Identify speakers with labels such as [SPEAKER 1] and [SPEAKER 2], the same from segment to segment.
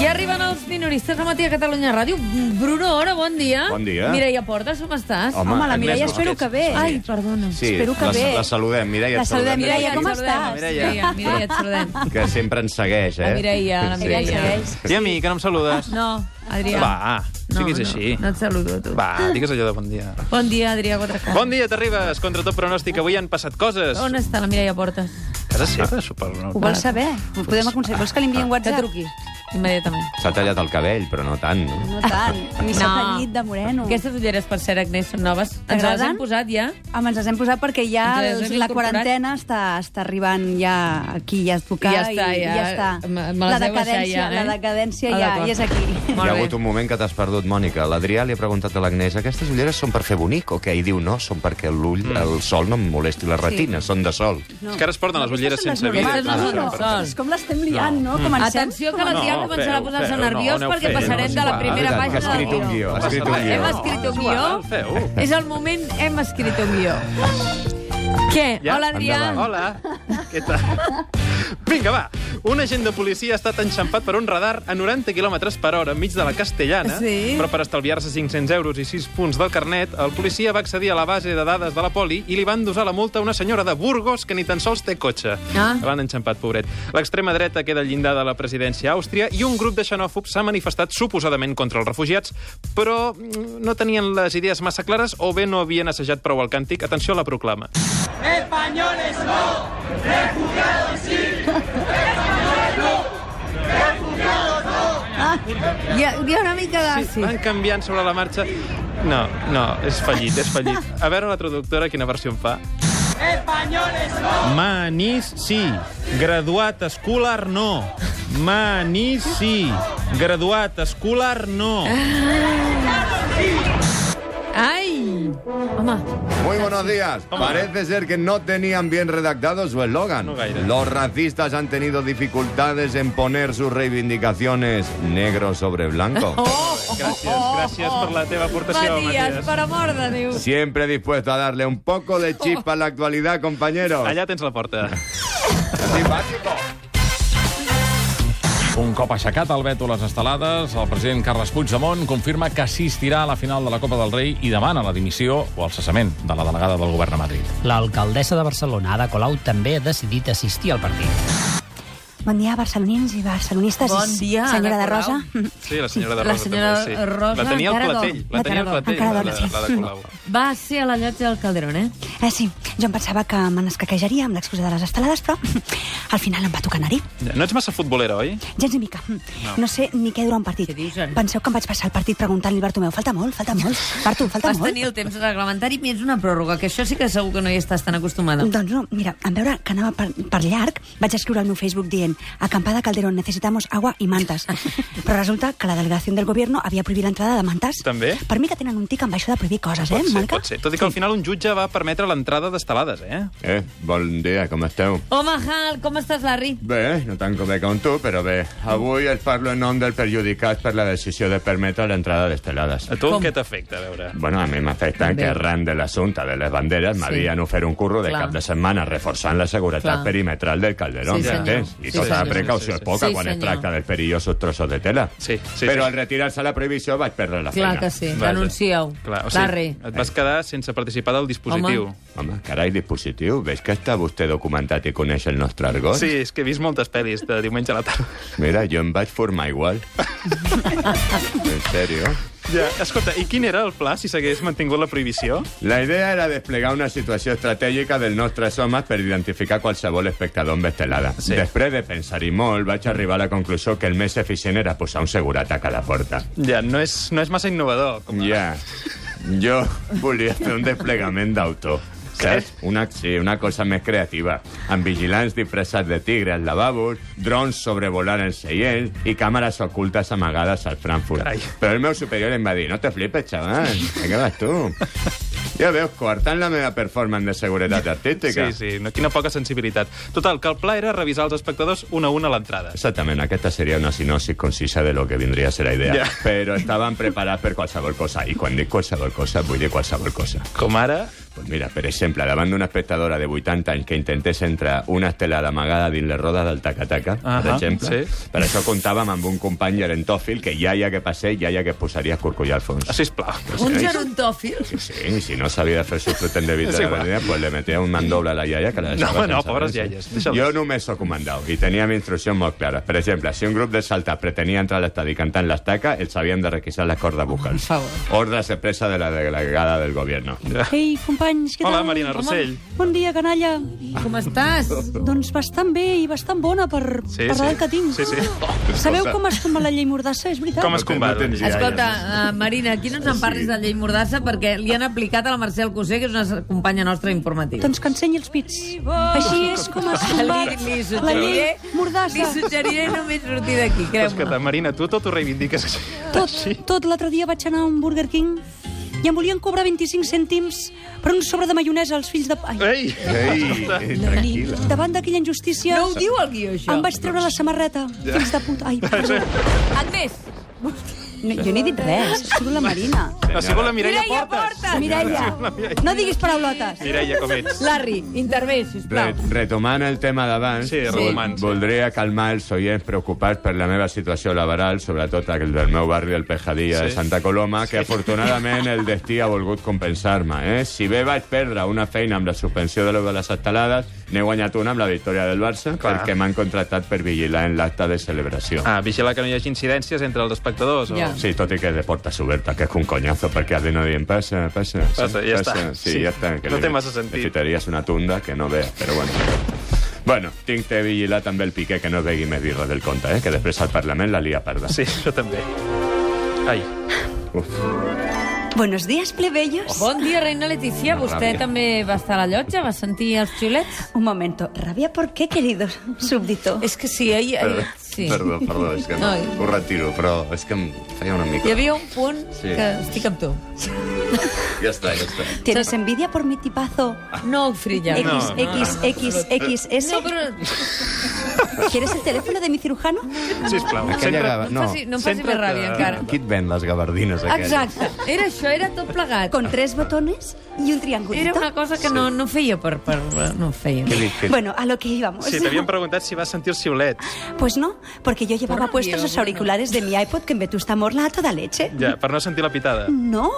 [SPEAKER 1] Ja arriben els minoristes al matí a Catalunya Ràdio. Bruno Hora, bon dia.
[SPEAKER 2] Bon dia.
[SPEAKER 1] Mireia Portes, com estàs?
[SPEAKER 2] Home,
[SPEAKER 3] Home, la
[SPEAKER 2] Agnès
[SPEAKER 3] Mireia
[SPEAKER 2] Busquets.
[SPEAKER 3] espero que bé.
[SPEAKER 1] Ai, perdona.
[SPEAKER 2] Sí,
[SPEAKER 3] espero que
[SPEAKER 2] la,
[SPEAKER 3] bé.
[SPEAKER 2] la saludem, Mireia.
[SPEAKER 3] La
[SPEAKER 2] et
[SPEAKER 3] saludem, Mireia, com
[SPEAKER 1] et
[SPEAKER 3] estàs?
[SPEAKER 1] saludem.
[SPEAKER 2] Mireia.
[SPEAKER 1] Mireia, Mireia, et saludem.
[SPEAKER 2] Que sempre ens segueix, eh?
[SPEAKER 1] La Mireia, la
[SPEAKER 2] Sí.
[SPEAKER 1] Mireia
[SPEAKER 3] segueix.
[SPEAKER 4] I a mi, que no em saludes?
[SPEAKER 1] No, Adrià.
[SPEAKER 4] Va, no, siguis així.
[SPEAKER 1] No, no et saludo a tu.
[SPEAKER 4] Va, digues allò de bon dia.
[SPEAKER 1] Bon dia, Adrià Quatrecat.
[SPEAKER 4] Bon dia, t'arribes. Contra tot pronòstic, avui han passat coses.
[SPEAKER 1] On està la Mireia Portes?
[SPEAKER 4] Casa seva, suposo.
[SPEAKER 3] Ho vols saber? Ho podem aconseguir. Vols que li enviï
[SPEAKER 1] Ah,
[SPEAKER 3] un WhatsApp? Que truqui.
[SPEAKER 1] Immediatament.
[SPEAKER 2] S'ha tallat el cabell, però no tant, no?
[SPEAKER 3] No tant. A mi s'ha
[SPEAKER 1] No.
[SPEAKER 3] fallit de moreno.
[SPEAKER 1] Aquestes ulleres, per cert, Agnès, són noves. Ens les
[SPEAKER 3] T'agraden?
[SPEAKER 1] hem posat ja?
[SPEAKER 3] Home, ens Ah, les hem posat perquè ja
[SPEAKER 1] Ens les
[SPEAKER 3] els,
[SPEAKER 1] hem
[SPEAKER 3] la
[SPEAKER 1] incorporat.
[SPEAKER 3] quarantena està, està arribant ja aquí, ja es toca.
[SPEAKER 1] I ja està,
[SPEAKER 3] i,
[SPEAKER 1] ja.
[SPEAKER 3] ja està.
[SPEAKER 1] Me- me les
[SPEAKER 3] la
[SPEAKER 1] deu baixar
[SPEAKER 3] decadència,
[SPEAKER 1] ja, eh?
[SPEAKER 3] la decadència
[SPEAKER 1] Ah,
[SPEAKER 3] ja,
[SPEAKER 1] d'acord.
[SPEAKER 3] ja és aquí.
[SPEAKER 1] Molt
[SPEAKER 2] Hi ha
[SPEAKER 1] bé.
[SPEAKER 2] hagut un moment que t'has perdut, Mònica. L'Adrià li ha preguntat a l'Agnès, aquestes ulleres són per fer bonic o què? I diu, no, són perquè l'ull, el sol no em molesti les retines, són de sol.
[SPEAKER 4] És que ara es porten les ulleres
[SPEAKER 3] Aquestes
[SPEAKER 4] sense
[SPEAKER 3] són les
[SPEAKER 4] vida. Ah,
[SPEAKER 1] Aquestes no són
[SPEAKER 3] normals.
[SPEAKER 1] les sols.
[SPEAKER 3] És com l'estem liant, no? Comencem?
[SPEAKER 1] Atenció, que l'Adrià
[SPEAKER 4] No,
[SPEAKER 1] començarà a
[SPEAKER 4] feu,
[SPEAKER 1] posar-se
[SPEAKER 4] feu,
[SPEAKER 1] nerviós
[SPEAKER 4] no, aneu
[SPEAKER 1] perquè
[SPEAKER 4] fent,
[SPEAKER 1] passarem
[SPEAKER 4] no,
[SPEAKER 1] de la
[SPEAKER 4] va,
[SPEAKER 1] primera
[SPEAKER 2] Veritat, que ha
[SPEAKER 1] pàgina
[SPEAKER 2] escrit
[SPEAKER 1] del
[SPEAKER 2] un guió. Ha escrit un
[SPEAKER 1] Hem
[SPEAKER 2] guió.
[SPEAKER 1] escrit un
[SPEAKER 4] Igual,
[SPEAKER 1] guió.
[SPEAKER 4] Feu.
[SPEAKER 1] És el moment, hem escrit un guió. Què?
[SPEAKER 4] Ja?
[SPEAKER 1] Hola, Adrià.
[SPEAKER 2] Endavant.
[SPEAKER 4] Hola, què tal? Vinga, va. Un agent de policia ha estat enxampat per un radar a 90 km per hora enmig de la Castellana,
[SPEAKER 1] Sí.
[SPEAKER 4] però per estalviar-se 500 euros i 6 punts del carnet, el policia va accedir a la base de dades de la poli i li van dosar la multa a una senyora de Burgos que ni tan sols té cotxe.
[SPEAKER 1] Ah.
[SPEAKER 4] L'han enxampat, pobret. L'extrema dreta queda al llindar de la presidència àustria i un grup de xenòfobs s'ha manifestat suposadament contra els refugiats, però mm, no tenien les idees massa clares o bé no havien assajat prou el càntic. Atenció a la proclama.
[SPEAKER 1] Hi ha, hi ha una mica
[SPEAKER 3] Ah,
[SPEAKER 1] de...
[SPEAKER 4] Sí, van canviant sobre la marxa. No, no, és fallit, és fallit. A veure la traductora quina versió en fa. Manís, sí. Graduat escolar, no. Manís, sí. Graduat escolar, no.
[SPEAKER 1] Ai! Home,
[SPEAKER 2] Muy buenos días. Parece ser que no tenían bien redactado su eslogan.
[SPEAKER 4] No gaire.
[SPEAKER 2] Los racistas han tenido dificultades en poner sus reivindicaciones negro sobre blanco.
[SPEAKER 4] Gràcies, gràcies per la teva aportació,
[SPEAKER 1] Matías,
[SPEAKER 4] Matías.
[SPEAKER 1] per amor de Déu.
[SPEAKER 2] Siempre dispuesto a darle un poco de chispa a la actualidad, compañeros.
[SPEAKER 4] Allà tens la porta.
[SPEAKER 2] Simpático.
[SPEAKER 5] Un cop aixecat el veto a les estelades, el president Carles Puigdemont confirma que assistirà a la final de la Copa del Rei i demana la dimissió o el cessament de la delegada del govern a Madrid.
[SPEAKER 6] L'alcaldessa de Barcelona, Ada Colau, també ha decidit assistir al partit.
[SPEAKER 3] Bon dia, barcelonins i barcelonistes.
[SPEAKER 1] Bon dia,
[SPEAKER 3] Senyora
[SPEAKER 1] Ada
[SPEAKER 3] de Rosa.
[SPEAKER 4] Sí, la senyora de
[SPEAKER 1] La
[SPEAKER 4] Rosa.
[SPEAKER 1] senyora
[SPEAKER 4] també, sí.
[SPEAKER 1] Rosa
[SPEAKER 4] la tenia al
[SPEAKER 1] Caragol.
[SPEAKER 4] platell. La
[SPEAKER 3] La
[SPEAKER 4] tenia al
[SPEAKER 3] Caragol,
[SPEAKER 4] platell,
[SPEAKER 3] encara
[SPEAKER 4] la,
[SPEAKER 3] dona,
[SPEAKER 4] la,
[SPEAKER 3] sí.
[SPEAKER 4] la de Colau.
[SPEAKER 1] Va ser a la llotja del Calderón, eh?
[SPEAKER 3] Eh, sí, jo em pensava que me n'escaquejaria amb l'excusa de les estelades, però al final em va tocar anar-hi.
[SPEAKER 4] No ets massa futbolera, oi?
[SPEAKER 3] Gens ni mica. No. no sé ni què dura un partit.
[SPEAKER 1] Què dius, ara?
[SPEAKER 3] Penseu que em vaig passar el partit preguntant-li al Bartomeu, falta molt, falta molt, Bartu, falta
[SPEAKER 1] Vas
[SPEAKER 3] molt.
[SPEAKER 1] tenir el temps reglamentari més una pròrroga, que això sí que segur que no hi estàs tan acostumada.
[SPEAKER 3] Doncs no, mira, en veure que anava per, per llarg, vaig escriure al meu Facebook dient «Acampada Calderón, necesitamos agua y mantas». Però resulta que la delegació del gobierno havia prohibit l'entrada de mantas.
[SPEAKER 4] També?
[SPEAKER 3] Per mi que tenen un tic amb això de prohibir coses, eh,
[SPEAKER 4] Pot ser,
[SPEAKER 3] Mònica?
[SPEAKER 4] pot ser. Tot i que al final un jutge va permetre l'entrada d'estelades, eh?
[SPEAKER 2] Eh, bon dia, com esteu?
[SPEAKER 1] Home, Hal, com estàs, Larry?
[SPEAKER 2] Bé, no tant com bé com tu, però bé. Avui et parlo en nom del perjudicat per la decisió de permetre l'entrada d'estelades.
[SPEAKER 4] A tu
[SPEAKER 1] Com?
[SPEAKER 4] què t'afecta, a veure?
[SPEAKER 2] Bueno, a mi m'afecta
[SPEAKER 1] Eh. Bé.
[SPEAKER 2] que arran de l'assumpte de les banderes m'havien ofert un curro de
[SPEAKER 1] Clar.
[SPEAKER 2] cap de setmana reforçant la seguretat
[SPEAKER 1] Clar.
[SPEAKER 2] perimetral del Calderón,
[SPEAKER 1] Sí, senyor.
[SPEAKER 2] m'entens? I
[SPEAKER 1] Sí,
[SPEAKER 2] tota
[SPEAKER 1] senyor.
[SPEAKER 2] precaució
[SPEAKER 4] Sí,
[SPEAKER 2] és
[SPEAKER 4] sí,
[SPEAKER 2] poca
[SPEAKER 1] sí.
[SPEAKER 2] quan
[SPEAKER 1] Sí,
[SPEAKER 2] es
[SPEAKER 1] senyor.
[SPEAKER 2] tracta dels perillosos trossos de tela.
[SPEAKER 4] Sí, sí,
[SPEAKER 2] Però
[SPEAKER 4] sí.
[SPEAKER 2] al retirar-se la prohibició vaig perdre la
[SPEAKER 1] Clar
[SPEAKER 2] feina.
[SPEAKER 1] que sí.
[SPEAKER 4] Vaja.
[SPEAKER 1] Denuncieu.
[SPEAKER 4] Clar, o
[SPEAKER 1] Larry.
[SPEAKER 4] sigui, et vas quedar sense participar del dispositiu.
[SPEAKER 1] Home.
[SPEAKER 2] Home, carai, dispositiu, veig que està vostè documentat i coneix el nostre argot.
[SPEAKER 4] Sí, és que he vist moltes pel·lis de diumenge a la tarda.
[SPEAKER 2] Mira, jo em vaig formar igual. en sèrio.
[SPEAKER 4] Ja. Escolta, i quin era el pla si s'hagués mantingut la prohibició?
[SPEAKER 2] La idea era desplegar una situació estratègica dels nostres homes per identificar qualsevol espectador amb estelada. Sí.
[SPEAKER 4] Sí.
[SPEAKER 2] Després de pensar-hi molt, vaig arribar a la conclusió que el més eficient era posar un segurat a cada porta.
[SPEAKER 4] Ja, no és, no és massa innovador. Com a...
[SPEAKER 2] Ja, jo volia fer un desplegament d'autor. Saps? Una, sí, una cosa més creativa. Amb vigilants disfressats de tigre als lavabos, drons sobrevolant els seients i càmeres ocultes amagades al Frankfurt.
[SPEAKER 4] Carai.
[SPEAKER 2] Però el meu superior em va dir, no te flipes, xaval, de què vas tu? Ja veus, coartant la meva performance de seguretat artística.
[SPEAKER 4] Sí, sí, no, quina poca sensibilitat. Total, que el pla era revisar els espectadors un a un a l'entrada.
[SPEAKER 2] Exactament, aquesta seria una sinosi concisa de lo que vindria a ser la idea.
[SPEAKER 4] Ja.
[SPEAKER 2] Però estaven preparats per qualsevol cosa. I quan dic qualsevol cosa, vull dir qualsevol cosa.
[SPEAKER 4] Com ara...
[SPEAKER 2] Pues mira, per exemple, davant d'una espectadora de 80 anys que intentés entrar una estelada amagada dins les rodes del tacataca, -taca, per
[SPEAKER 4] Ahà,
[SPEAKER 2] exemple,
[SPEAKER 4] sí.
[SPEAKER 2] per això comptàvem amb un company gerentòfil que ja hi ha que passar, ja hi ha que es posaria a escorcollar el
[SPEAKER 4] Ah,
[SPEAKER 2] fons.
[SPEAKER 4] Sisplau.
[SPEAKER 1] Un gerontòfil?
[SPEAKER 2] Sí, si no sabia fer el seu pretén de vida
[SPEAKER 4] És
[SPEAKER 2] de
[SPEAKER 4] igual.
[SPEAKER 2] la manera, pues le metia un mandoble a la iaia que la
[SPEAKER 4] No,
[SPEAKER 2] deixava
[SPEAKER 4] no,
[SPEAKER 2] sense
[SPEAKER 4] pobres
[SPEAKER 2] res.
[SPEAKER 4] iaies, deixa-les.
[SPEAKER 2] Jo només sóc comandau i teníem instruccions molt clares. Per exemple, si un grup de salta pretenia entrar a l'estadi cantant l'estaca, els havien de requisar les cordes vocals.
[SPEAKER 1] favor.
[SPEAKER 2] Ordres expressa de la delegada del govern.
[SPEAKER 3] Ei, companys, què tal?
[SPEAKER 4] Hola, Marina Rossell.
[SPEAKER 3] Bon dia, canalla.
[SPEAKER 1] Com estàs?
[SPEAKER 3] Doncs bastant bé i bastant bona per,
[SPEAKER 4] Sí,
[SPEAKER 3] per
[SPEAKER 4] sí.
[SPEAKER 3] l'edat que tinc.
[SPEAKER 4] Sí, sí.
[SPEAKER 3] Sabeu com es comba la llei Mordassa, és veritat?
[SPEAKER 4] Com es combat? Doncs,
[SPEAKER 2] No tens iaia.
[SPEAKER 1] Escolta, uh, Marina, aquí no ens en parlis de llei Mordassa perquè li han aplicat a la Mercè Alcosser, que és una companya nostra informativa.
[SPEAKER 3] Doncs que ensenyi els pits. Així és com es comba
[SPEAKER 1] Li- li
[SPEAKER 3] la llei
[SPEAKER 1] suggeriré- Li
[SPEAKER 3] Mordassa.
[SPEAKER 1] suggeriré només sortir d'aquí, creu-me.
[SPEAKER 4] Escolta, Marina, tu tot ho reivindiques així.
[SPEAKER 3] Tot,
[SPEAKER 4] Així.
[SPEAKER 3] tot l'altre dia vaig anar a un Burger King i em volien cobrar 25 cèntims per un sobre de maionesa als fills de... Ai,
[SPEAKER 4] Ei!
[SPEAKER 2] Ei,
[SPEAKER 4] Eh?
[SPEAKER 2] tranquil·la.
[SPEAKER 3] davant d'aquella injustícia...
[SPEAKER 1] No ho diu el guió, això.
[SPEAKER 3] Em vaig treure la samarreta, fills de puta. Ai, perdó.
[SPEAKER 1] Agnès,
[SPEAKER 3] No, jo no he dit res, ha sigut la Marina.
[SPEAKER 4] La segona Mireia
[SPEAKER 1] Mireia
[SPEAKER 4] Portes.
[SPEAKER 1] Portes!
[SPEAKER 3] Mireia, no diguis paraulotes.
[SPEAKER 4] Mireia, com ets?
[SPEAKER 1] Larry, intervé, sisplau.
[SPEAKER 2] Re retomant el tema d'abans,
[SPEAKER 4] Sí,
[SPEAKER 2] vol-
[SPEAKER 4] retomant, sí.
[SPEAKER 2] voldria calmar els oients preocupats per la meva situació laboral, sobretot el del meu barri del Pejadilla
[SPEAKER 4] Sí.
[SPEAKER 2] de Santa Coloma, que afortunadament el destí ha volgut compensar-me. Eh? Si bé vaig perdre una feina amb la suspensió de lo de les estelades, n'he guanyat una amb la victòria del Barça,
[SPEAKER 4] Clar.
[SPEAKER 2] perquè m'han contractat per vigilar en l'acte de celebració.
[SPEAKER 4] Ah, vigilar que no hi hagi incidències entre els espectadors. O...
[SPEAKER 1] Ja.
[SPEAKER 2] Sí, tot i que de portes obertes, que és un conyazo, perquè has de no dient passa, passa,
[SPEAKER 4] Passa, ja està.
[SPEAKER 2] Sí,
[SPEAKER 4] Sí.
[SPEAKER 2] ja està. Que
[SPEAKER 4] No
[SPEAKER 2] li-
[SPEAKER 4] té massa sentit.
[SPEAKER 2] li Fitaries una tunda que no ve, però bueno. Bueno, tinc de vigilar també el Piqué, que no es vegui més birra del compte, eh? que després al Parlament la lia parda.
[SPEAKER 4] Sí, això també. Ai,
[SPEAKER 2] Uf.
[SPEAKER 3] Buenos días, plebeyos.
[SPEAKER 1] Bon dia, reina Letícia. Vostè
[SPEAKER 2] Ràbia.
[SPEAKER 1] també va estar a la llotja? Va sentir els xiulets?
[SPEAKER 3] Un momento. ¿Rabia por qué, querido súbdito?
[SPEAKER 1] És que sí, ahir... ahir sí.
[SPEAKER 2] Perdó, perdó, és que no,
[SPEAKER 1] Ai.
[SPEAKER 2] ho retiro, però és que em feia una mica...
[SPEAKER 1] Hi havia un punt
[SPEAKER 2] Sí.
[SPEAKER 1] que estic amb tu.
[SPEAKER 2] Ja està, ja està.
[SPEAKER 3] ¿Tienes envidia por mi tipazo?
[SPEAKER 1] No, Frilla.
[SPEAKER 3] X,
[SPEAKER 1] No.
[SPEAKER 3] X, X, X, S.
[SPEAKER 1] No, però
[SPEAKER 3] ¿Quieres el teléfono de mi cirujano?
[SPEAKER 4] sisplau.
[SPEAKER 2] Aquella
[SPEAKER 4] Centra...
[SPEAKER 2] gava...
[SPEAKER 1] no, em faci, no em faci
[SPEAKER 4] Centra't,
[SPEAKER 1] més ràbia
[SPEAKER 4] eh,
[SPEAKER 1] encara.
[SPEAKER 2] Qui et ven les gabardines aquelles?
[SPEAKER 1] Exacte. Era això, era tot plegat.
[SPEAKER 3] Con tres botones y un triangulito.
[SPEAKER 1] Era una cosa que no, no feia per... per no feia.
[SPEAKER 2] Què li, què...
[SPEAKER 3] Bueno, a lo que íbamos.
[SPEAKER 4] Sí, t'havien preguntat si vas sentir els xiulets.
[SPEAKER 3] Pues no, porque yo llevaba
[SPEAKER 1] Por
[SPEAKER 3] puestos
[SPEAKER 1] Dios,
[SPEAKER 3] los
[SPEAKER 1] bueno.
[SPEAKER 3] auriculares de mi iPod que en Vetusta Morla a toda leche.
[SPEAKER 4] Ja, per no sentir la pitada.
[SPEAKER 3] Mm. No,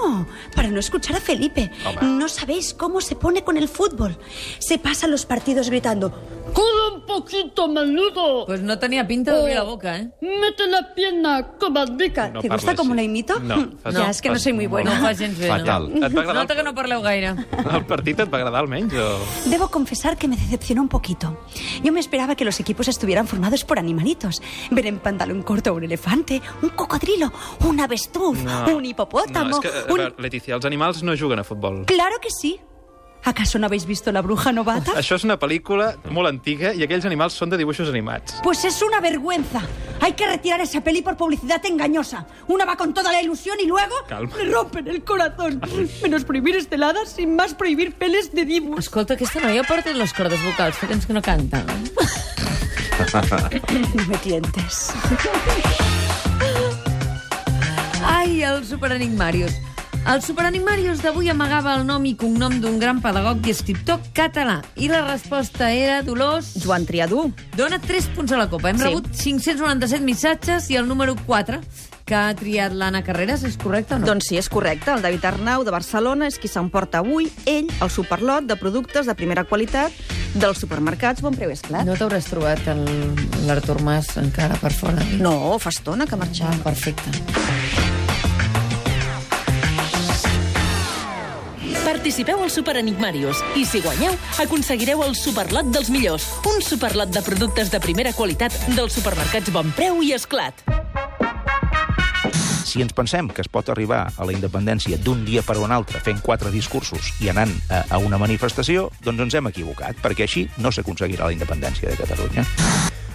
[SPEAKER 3] para no escuchar a Felipe.
[SPEAKER 4] Hombre.
[SPEAKER 3] No sabéis cómo se pone con el fútbol. Se pasa los partidos gritando,
[SPEAKER 7] Codo un poquito menudo.
[SPEAKER 1] Pues no tenia pinta d'obrir la boca, eh?
[SPEAKER 7] Mete la pierna como dica.
[SPEAKER 4] No
[SPEAKER 3] ¿Te gusta
[SPEAKER 4] parles,
[SPEAKER 3] cómo
[SPEAKER 4] sí.
[SPEAKER 3] lo imito?
[SPEAKER 4] No, fas-
[SPEAKER 3] ya es que no
[SPEAKER 4] fas
[SPEAKER 3] soy muy
[SPEAKER 4] molt
[SPEAKER 1] No
[SPEAKER 3] buena.
[SPEAKER 1] ho fa gens bé,
[SPEAKER 2] Fatal.
[SPEAKER 4] Et va
[SPEAKER 1] no?
[SPEAKER 4] agradar
[SPEAKER 1] Nota que no parleu gaire.
[SPEAKER 4] el partit? Et va agradar almenys? O...
[SPEAKER 3] Debo confesar que me decepcionó un poquito. Yo me esperaba que los equipos estuvieran formados por animalitos. Ver en pantalón corto a un elefante, un cocodrilo, un avestruz, un hipopótamo,
[SPEAKER 4] No, és que, a
[SPEAKER 3] un...
[SPEAKER 4] veure, Letícia, els animals no juguen a futbol.
[SPEAKER 3] Claro que sí. ¿Acaso no habéis visto La bruja novata?
[SPEAKER 4] Això és una pel·lícula molt antiga i aquells animals són de dibuixos animats.
[SPEAKER 3] Pues es una vergüenza. Hay que retirar esa peli por publicidad engañosa. Una va con toda la ilusión y luego
[SPEAKER 4] Calma.
[SPEAKER 3] me rompen el corazón. Menos prohibir esteladas sin más prohibir peles de dibujos.
[SPEAKER 1] Escolta, aquesta noia porta les cordes vocals, fa temps que no canta.
[SPEAKER 3] No me tientes.
[SPEAKER 1] Ai, el Superenigmarius. El Superenigmarius d'avui amagava el nom i cognom d'un gran pedagog i escriptor català. I la resposta era Dolors...
[SPEAKER 8] Joan Triadú.
[SPEAKER 1] Dona 3 punts a la copa. Hem
[SPEAKER 8] Sí.
[SPEAKER 1] sí. rebut 597 missatges i el número 4 que ha triat l'Anna Carreras, és correcte o no?
[SPEAKER 8] Doncs sí, és correcte. El David Arnau de Barcelona és qui s'emporta avui, ell, el superlot de productes de primera qualitat dels supermercats Bon Preu Esclat.
[SPEAKER 1] No t'hauràs trobat el- l'Artur Mas encara per fora?
[SPEAKER 8] No, fa estona que
[SPEAKER 1] Ah,
[SPEAKER 8] marxava.
[SPEAKER 1] perfecte.
[SPEAKER 9] Participeu al Superenigmàrius i, si guanyeu, aconseguireu el superlot dels millors, un superlot de productes de primera qualitat dels supermercats Bon Preu i Esclat.
[SPEAKER 10] Si ens pensem que es pot arribar a la independència d'un dia per un altre fent quatre discursos i anant a, a una manifestació, doncs ens hem equivocat, perquè així no s'aconseguirà la independència de Catalunya.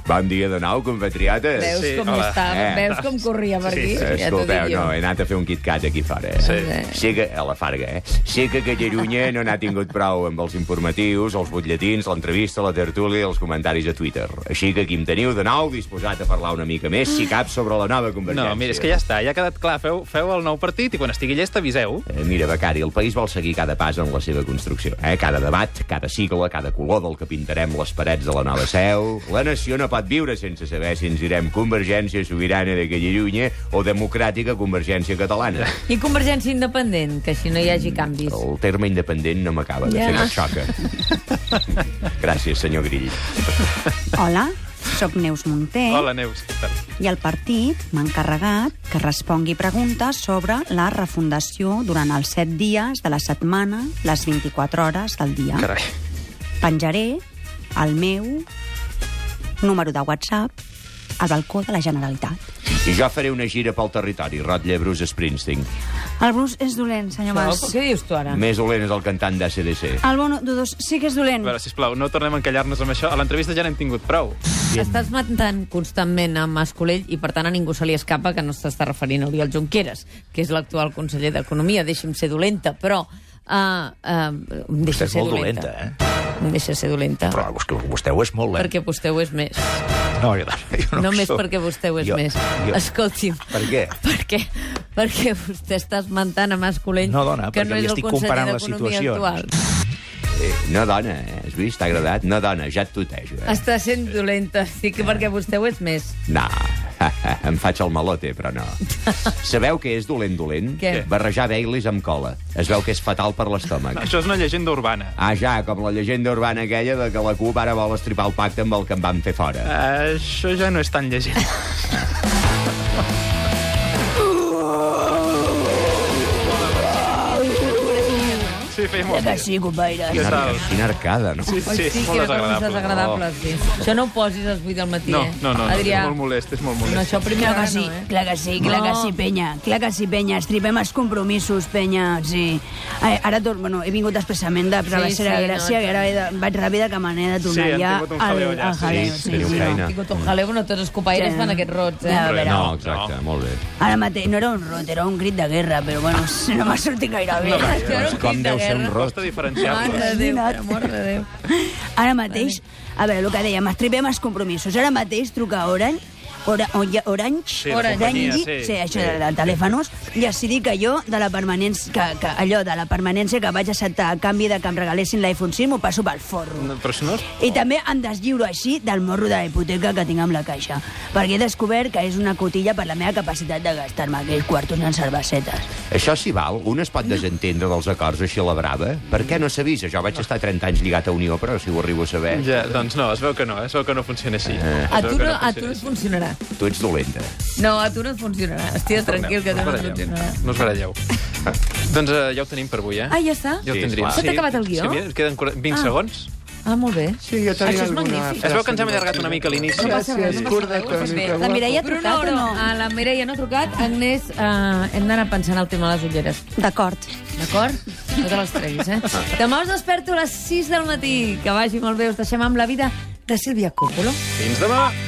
[SPEAKER 2] Bon dia de nou, compatriotes.
[SPEAKER 1] Veus com estava? Veus com corria per aquí?
[SPEAKER 2] Sí,
[SPEAKER 1] Ja t'ho dic
[SPEAKER 2] Eh. Escolteu,
[SPEAKER 1] jo.
[SPEAKER 2] no, he anat a fer un KitKat aquí fora. Eh? Sí. sí que, a la Farga, eh? Sé que Callarunya no n'ha tingut prou amb els informatius, els butlletins, l'entrevista, la tertúlia i els comentaris a Twitter. Així que aquí em teniu de nou disposat a parlar una mica més, si cap, sobre la nova
[SPEAKER 4] No,
[SPEAKER 2] convergència.
[SPEAKER 4] mira, és que ja està, ja ha quedat clar. Feu, feu el nou partit i quan estigui llest aviseu.
[SPEAKER 2] Eh, Mira, Becari, el país vol seguir cada pas en la seva construcció. Eh? Cada debat, cada cicle, cada color del que pintarem les parets de la nova seu. La nació no pot viure sense saber si ens direm Convergència Sobirana de Callarunya o Democràtica Convergència Catalana.
[SPEAKER 1] I Convergència Independent, que així no hi hagi canvis.
[SPEAKER 2] El terme independent no m'acaba de
[SPEAKER 1] Ja.
[SPEAKER 2] fer, m'aixoca. Gràcies, senyor Grill.
[SPEAKER 3] Hola, sóc Neus Monté
[SPEAKER 4] Hola, Neus, què tal?
[SPEAKER 3] i el partit m'ha encarregat que respongui preguntes sobre la refundació durant els 7 dies de la setmana, les 24 hores del dia.
[SPEAKER 4] Carai.
[SPEAKER 3] Penjaré el meu número de WhatsApp al balcó de la Generalitat.
[SPEAKER 2] I jo faré una gira pel territori, Rotlle Bruce Springsteen.
[SPEAKER 3] El Bruce és dolent, senyor Mas.
[SPEAKER 1] Què dius tu ara?
[SPEAKER 2] Més dolent és el cantant d'ACDC.
[SPEAKER 3] El Bono Dudos sí que és dolent.
[SPEAKER 4] A veure, sisplau, no tornem a encallar-nos amb això. A l'entrevista ja n'hem tingut prou.
[SPEAKER 1] Estàs matant constantment a Mascolell i, per tant, a ningú se li escapa que no s'està referint a Oriol Junqueras, que és l'actual conseller d'Economia. Deixa'm ser dolenta, però... Uh, uh,
[SPEAKER 10] Vostè
[SPEAKER 1] deixa
[SPEAKER 10] és
[SPEAKER 1] ser
[SPEAKER 10] molt
[SPEAKER 1] dolenta.
[SPEAKER 10] dolenta, eh?
[SPEAKER 1] Em deixa ser dolenta.
[SPEAKER 10] Però és que vostè ho és molt, eh?
[SPEAKER 1] Perquè vostè ho és més.
[SPEAKER 10] No, jo, jo no ho
[SPEAKER 1] Només
[SPEAKER 10] soc.
[SPEAKER 1] perquè vostè ho és
[SPEAKER 10] jo,
[SPEAKER 1] més.
[SPEAKER 10] Jo,
[SPEAKER 1] Escolti'm.
[SPEAKER 10] Per què?
[SPEAKER 1] Perquè, perquè vostè està esmentant a Mascolell
[SPEAKER 10] No, dona,
[SPEAKER 1] que
[SPEAKER 10] perquè
[SPEAKER 1] no
[SPEAKER 10] li
[SPEAKER 1] és el
[SPEAKER 10] estic
[SPEAKER 1] conseller
[SPEAKER 10] comparant les
[SPEAKER 1] d'Economia
[SPEAKER 10] situacions.
[SPEAKER 1] actual.
[SPEAKER 2] Eh, no, dona, eh? Has vist? T'ha agradat? No, dona, ja et tutejo. Eh?
[SPEAKER 1] Està sent dolenta, sí
[SPEAKER 10] Eh.
[SPEAKER 1] que perquè vostè ho és més.
[SPEAKER 2] No, em faig el malote, però no. Sabeu que és dolent, dolent?
[SPEAKER 1] Què?
[SPEAKER 2] Barrejar Baileys amb cola. Es veu que és fatal per l'estómac.
[SPEAKER 4] Això és una llegenda urbana.
[SPEAKER 2] Ah, ja, com la llegenda urbana aquella de que la CUP ara vol estripar el pacte amb el que em van fer
[SPEAKER 4] Eh,
[SPEAKER 2] fora.
[SPEAKER 4] Això ja no és tan llegenda. Sí, feia molt bé.
[SPEAKER 3] Sí, compaire.
[SPEAKER 4] Què
[SPEAKER 2] Quina,
[SPEAKER 4] tal?
[SPEAKER 2] quina arcada, no?
[SPEAKER 4] Sí,
[SPEAKER 1] Oi,
[SPEAKER 4] sí,
[SPEAKER 1] sí que era
[SPEAKER 4] molt
[SPEAKER 1] coses
[SPEAKER 4] desagradable. Oh.
[SPEAKER 1] desagradables, sí. Això no ho posis als 8 del matí,
[SPEAKER 4] No,
[SPEAKER 1] eh?
[SPEAKER 4] no, no, no, és
[SPEAKER 1] Adrià,
[SPEAKER 4] molt molest, és molt
[SPEAKER 1] no,
[SPEAKER 4] molest.
[SPEAKER 1] això primer
[SPEAKER 3] Clar
[SPEAKER 1] hora
[SPEAKER 3] que sí,
[SPEAKER 1] no, eh?
[SPEAKER 3] clar que sí, clar
[SPEAKER 1] No.
[SPEAKER 3] que sí, penya. Clar que sí, penya. Estripem els compromisos, penya. Sí. Eh, ara tot, bueno, he vingut expressament de Travessera
[SPEAKER 1] sí,
[SPEAKER 3] sí, sí,
[SPEAKER 1] no,
[SPEAKER 3] Gràcia no, i ara he de, vaig ràpid a Camanera de tornar
[SPEAKER 4] Sí, hem
[SPEAKER 3] ja
[SPEAKER 4] tingut un
[SPEAKER 3] al,
[SPEAKER 4] jaleo allà,
[SPEAKER 3] al
[SPEAKER 4] sí,
[SPEAKER 3] jaleo.
[SPEAKER 2] sí, teniu feina.
[SPEAKER 1] Ha tingut un jaleu, no tots els copaires
[SPEAKER 3] Sí.
[SPEAKER 1] fan aquests rots,
[SPEAKER 3] Ja, a
[SPEAKER 1] eh?
[SPEAKER 3] veure,
[SPEAKER 2] No, exacte, molt bé.
[SPEAKER 3] Ara mateix no era un rot, era un crit de guerra, però bueno, no m'ha sortit gaire bé.
[SPEAKER 1] Això era un
[SPEAKER 2] Com
[SPEAKER 1] crit de
[SPEAKER 2] deu ser un
[SPEAKER 1] guerra.
[SPEAKER 2] rot?
[SPEAKER 4] Costa diferenciar-los.
[SPEAKER 1] Mare de Déu,
[SPEAKER 3] Imagina't.
[SPEAKER 1] per amor de Déu.
[SPEAKER 3] Ara mateix, a veure, el que dèiem, estripem els compromisos. Ara mateix truca a Orange, Ora, Orange,
[SPEAKER 4] Sí,
[SPEAKER 3] Orange,
[SPEAKER 4] la companyia,
[SPEAKER 3] Orange,
[SPEAKER 4] sí.
[SPEAKER 3] sí, això de, de telèfonos, i els dic que jo, de la permanència, que, que, allò de la permanència que vaig acceptar a canvi de que em regalessin l'iPhone 6, m'ho passo pel forro.
[SPEAKER 4] No, Però si no...
[SPEAKER 3] I també em deslliuro així del morro de la hipoteca que tinc amb la caixa, perquè he descobert que és una cotilla per la meva capacitat de gastar-me aquells quartos en cervesetes.
[SPEAKER 2] Això s'hi val? Un es pot desentendre dels acords així a la brava? Per què no s'avisa? Jo vaig estar 30 anys lligat a Unió, però si ho arribo a saber...
[SPEAKER 4] Ja, doncs no, es veu que no, eh? es veu que no funciona així.
[SPEAKER 1] Eh. A tu, no, a tu no et funcionarà.
[SPEAKER 2] Tu ets dolenta.
[SPEAKER 1] No, a tu no et funcionarà. Estia tranquil, que a tu no et funcionarà.
[SPEAKER 4] No us baralleu. doncs eh, ja ho tenim per avui, eh?
[SPEAKER 1] Ah, ja està?
[SPEAKER 4] Ja ho
[SPEAKER 2] Sí,
[SPEAKER 4] tindríem.
[SPEAKER 2] esclar.
[SPEAKER 1] S'ha acabat el guió?
[SPEAKER 4] Sí, mira, queden 40 20
[SPEAKER 1] Ah.
[SPEAKER 4] segons.
[SPEAKER 1] Ah, molt bé.
[SPEAKER 2] Sí, jo
[SPEAKER 1] tenia Això és alguna magnífic.
[SPEAKER 4] Es veu que ens hem allargat una mica a l'inici.
[SPEAKER 1] No passa res, no passa res, ho fas bé.
[SPEAKER 3] La Mireia ha
[SPEAKER 1] Però
[SPEAKER 3] trucat o no?
[SPEAKER 1] A la Mireia no ha trucat. Agnès, eh, hem d'anar pensant al tema de les ulleres.
[SPEAKER 3] D'acord.
[SPEAKER 1] D'acord? No te les treguis, eh? Demà us desperto a les 6 del matí. Que vagi molt bé. Us deixem amb la vida de Sílvia Coppolo.
[SPEAKER 4] Fins demà!